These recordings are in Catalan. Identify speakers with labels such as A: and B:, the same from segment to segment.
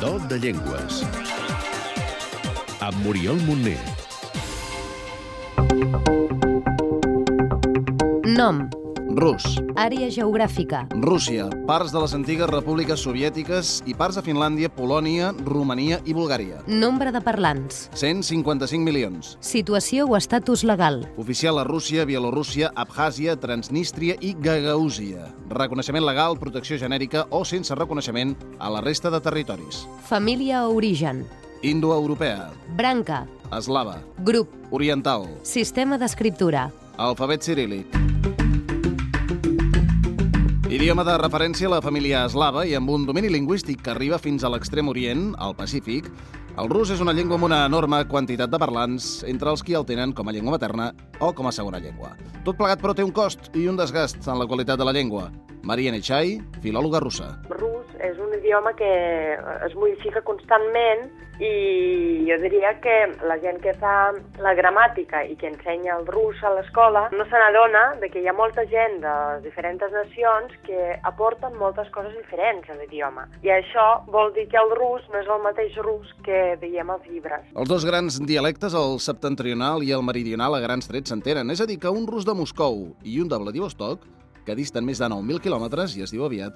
A: Do de Llengües. Amb Muriel Montner.
B: Nom,
C: Rus,
B: àrea geogràfica,
C: Rússia, parts de les antigues repúbliques soviètiques i parts de Finlàndia, Polònia, Romania i Bulgària.
B: nombre de parlants,
C: 155 milions.
B: situació o estatus legal,
C: Oficial a Rússia, Bielorússia, Abkhàzia, Transnístria i Gagaúzia. Reconeixement legal, protecció genèrica o sense reconeixement a la resta de territoris.
B: família o origen,
C: Indoeuropea,
B: branca,
C: eslava,
B: grup,
C: oriental,
B: sistema d'escriptura,
C: alfabet cirílic. Idioma de referència a la família eslava i amb un domini lingüístic que arriba fins a l'extrem orient, al Pacífic, el rus és una llengua amb una enorme quantitat de parlants, entre els qui el tenen com a llengua materna o com a segona llengua. Tot plegat, però, té un cost i un desgast en la qualitat de la llengua. Maria Nechai, filòloga russa.
D: rus és un idioma que es modifica constantment i jo diria que la gent que fa la gramàtica i que ensenya el rus a l'escola no se n'adona de que hi ha molta gent de diferents nacions que aporten moltes coses diferents a l'idioma. I això vol dir que el rus no és el mateix rus que veiem als llibres.
C: Els dos grans dialectes, el septentrional i el meridional, a grans trets s'entenen. És a dir, que un rus de Moscou i un de Vladivostok, que disten més de 9.000 quilòmetres i es diu aviat,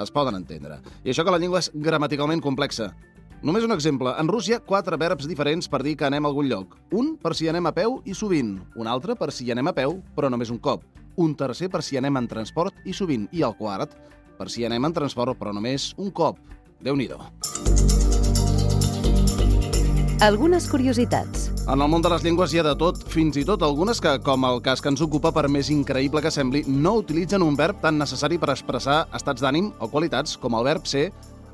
C: es poden entendre. I això que la llengua és gramaticalment complexa. Només un exemple. En Rússia, quatre verbs diferents per dir que anem a algun lloc. Un per si anem a peu i sovint. Un altre per si anem a peu, però només un cop. Un tercer per si anem en transport i sovint. I el quart per si anem en transport, però només un cop. Déu-n'hi-do.
B: algunes curiositats.
C: En el món de les llengües hi ha de tot, fins i tot algunes que, com el cas que ens ocupa, per més increïble que sembli, no utilitzen un verb tan necessari per expressar estats d'ànim o qualitats com el verb ser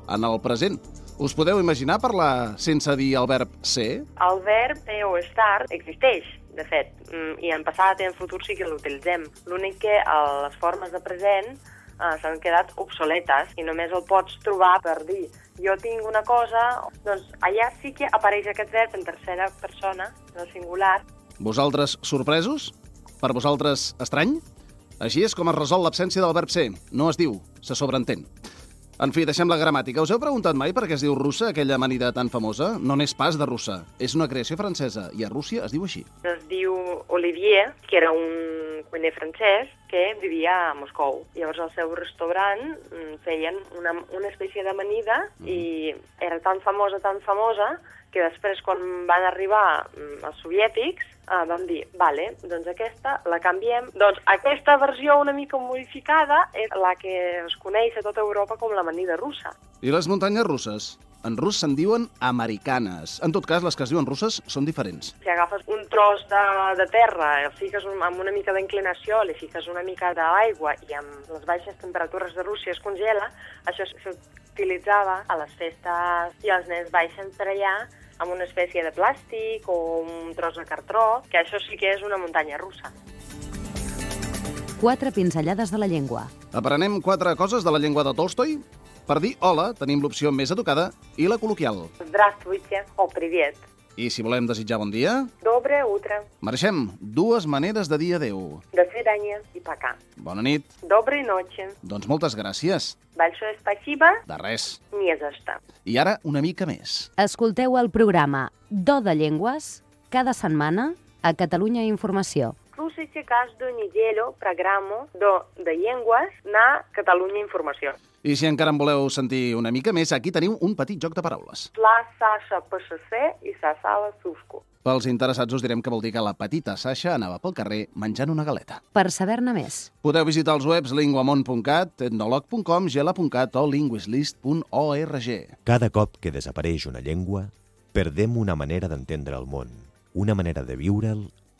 C: en el present. Us podeu imaginar parlar sense dir el verb ser?
D: El verb ser o estar existeix, de fet, mm, i en passat i en futur sí que l'utilitzem. L'únic que eh, les formes de present eh, s'han quedat obsoletes i només el pots trobar per dir jo tinc una cosa, doncs allà sí que apareix aquest verb en tercera persona, en el singular,
C: Vosaltres sorpresos? Per vosaltres estrany? Així és com es resol l'absència del verb ser. No es diu, se sobreentén. En fi, deixem la gramàtica. Us heu preguntat mai per què es diu russa, aquella amanida tan famosa? No n'és pas de russa. És una creació francesa i a Rússia es diu així.
D: es diu Olivier, que era un cuiner francès que vivia a Moscou. Llavors al seu restaurant mm, feien una, una espècie d'amanida i era tan famosa, tan famosa, que després quan van arribar mm, els soviètics eh, van dir, vale, doncs aquesta la canviem. Doncs aquesta versió una mica modificada és la que es coneix a tota Europa com l'amanida russa.
C: I les muntanyes russes? En rus se'n diuen americanes. En tot cas, les que es diuen russes són diferents.
D: si agafes un tros de, de terra, el fiques un, amb una mica d'inclinació, li fiques una mica d'aigua i amb les baixes temperatures de Rússia es congela, això s'utilitzava a les festes i els nens baixen per allà amb una espècie de plàstic o un tros de cartró, que això sí que és una muntanya russa.
B: Quatre pinzellades de la llengua.
C: Aprenem quatre coses de la llengua de Tolstoi. Per dir hola tenim l'opció més educada i la col·loquial.
D: Здравствуйте o привет.
C: I si volem desitjar bon dia,
D: Доброе утро.
C: marxem. Dues maneres de dir adeu.
D: До свидания и пока.
C: Bona nit.
D: Доброй ночи.
C: Doncs moltes gràcies.
D: Большое спасибо.
C: De res.
D: Не за что.
C: I ara una mica més.
B: Escolteu el programa Do de Llengües cada setmana a Catalunya Informació.
D: Слушайте каждую неделю программу «До до Енгуас» на Catalunya Informació.
C: I si encara en voleu sentir una mica més, aquí teniu un petit joc de paraules.
D: Пла Саша ПШС и сосала сушку.
C: Pels interessats us direm que vol dir que la petita Sasha anava pel carrer menjant una galeta.
B: Per saber-ne més,
C: Podeu visitar els webs linguamont.cat, etnolog.com, gela.cat o linguislist.org.
E: Cada cop que desapareix una llengua, perdem una manera d'entendre el món, una manera de viure'l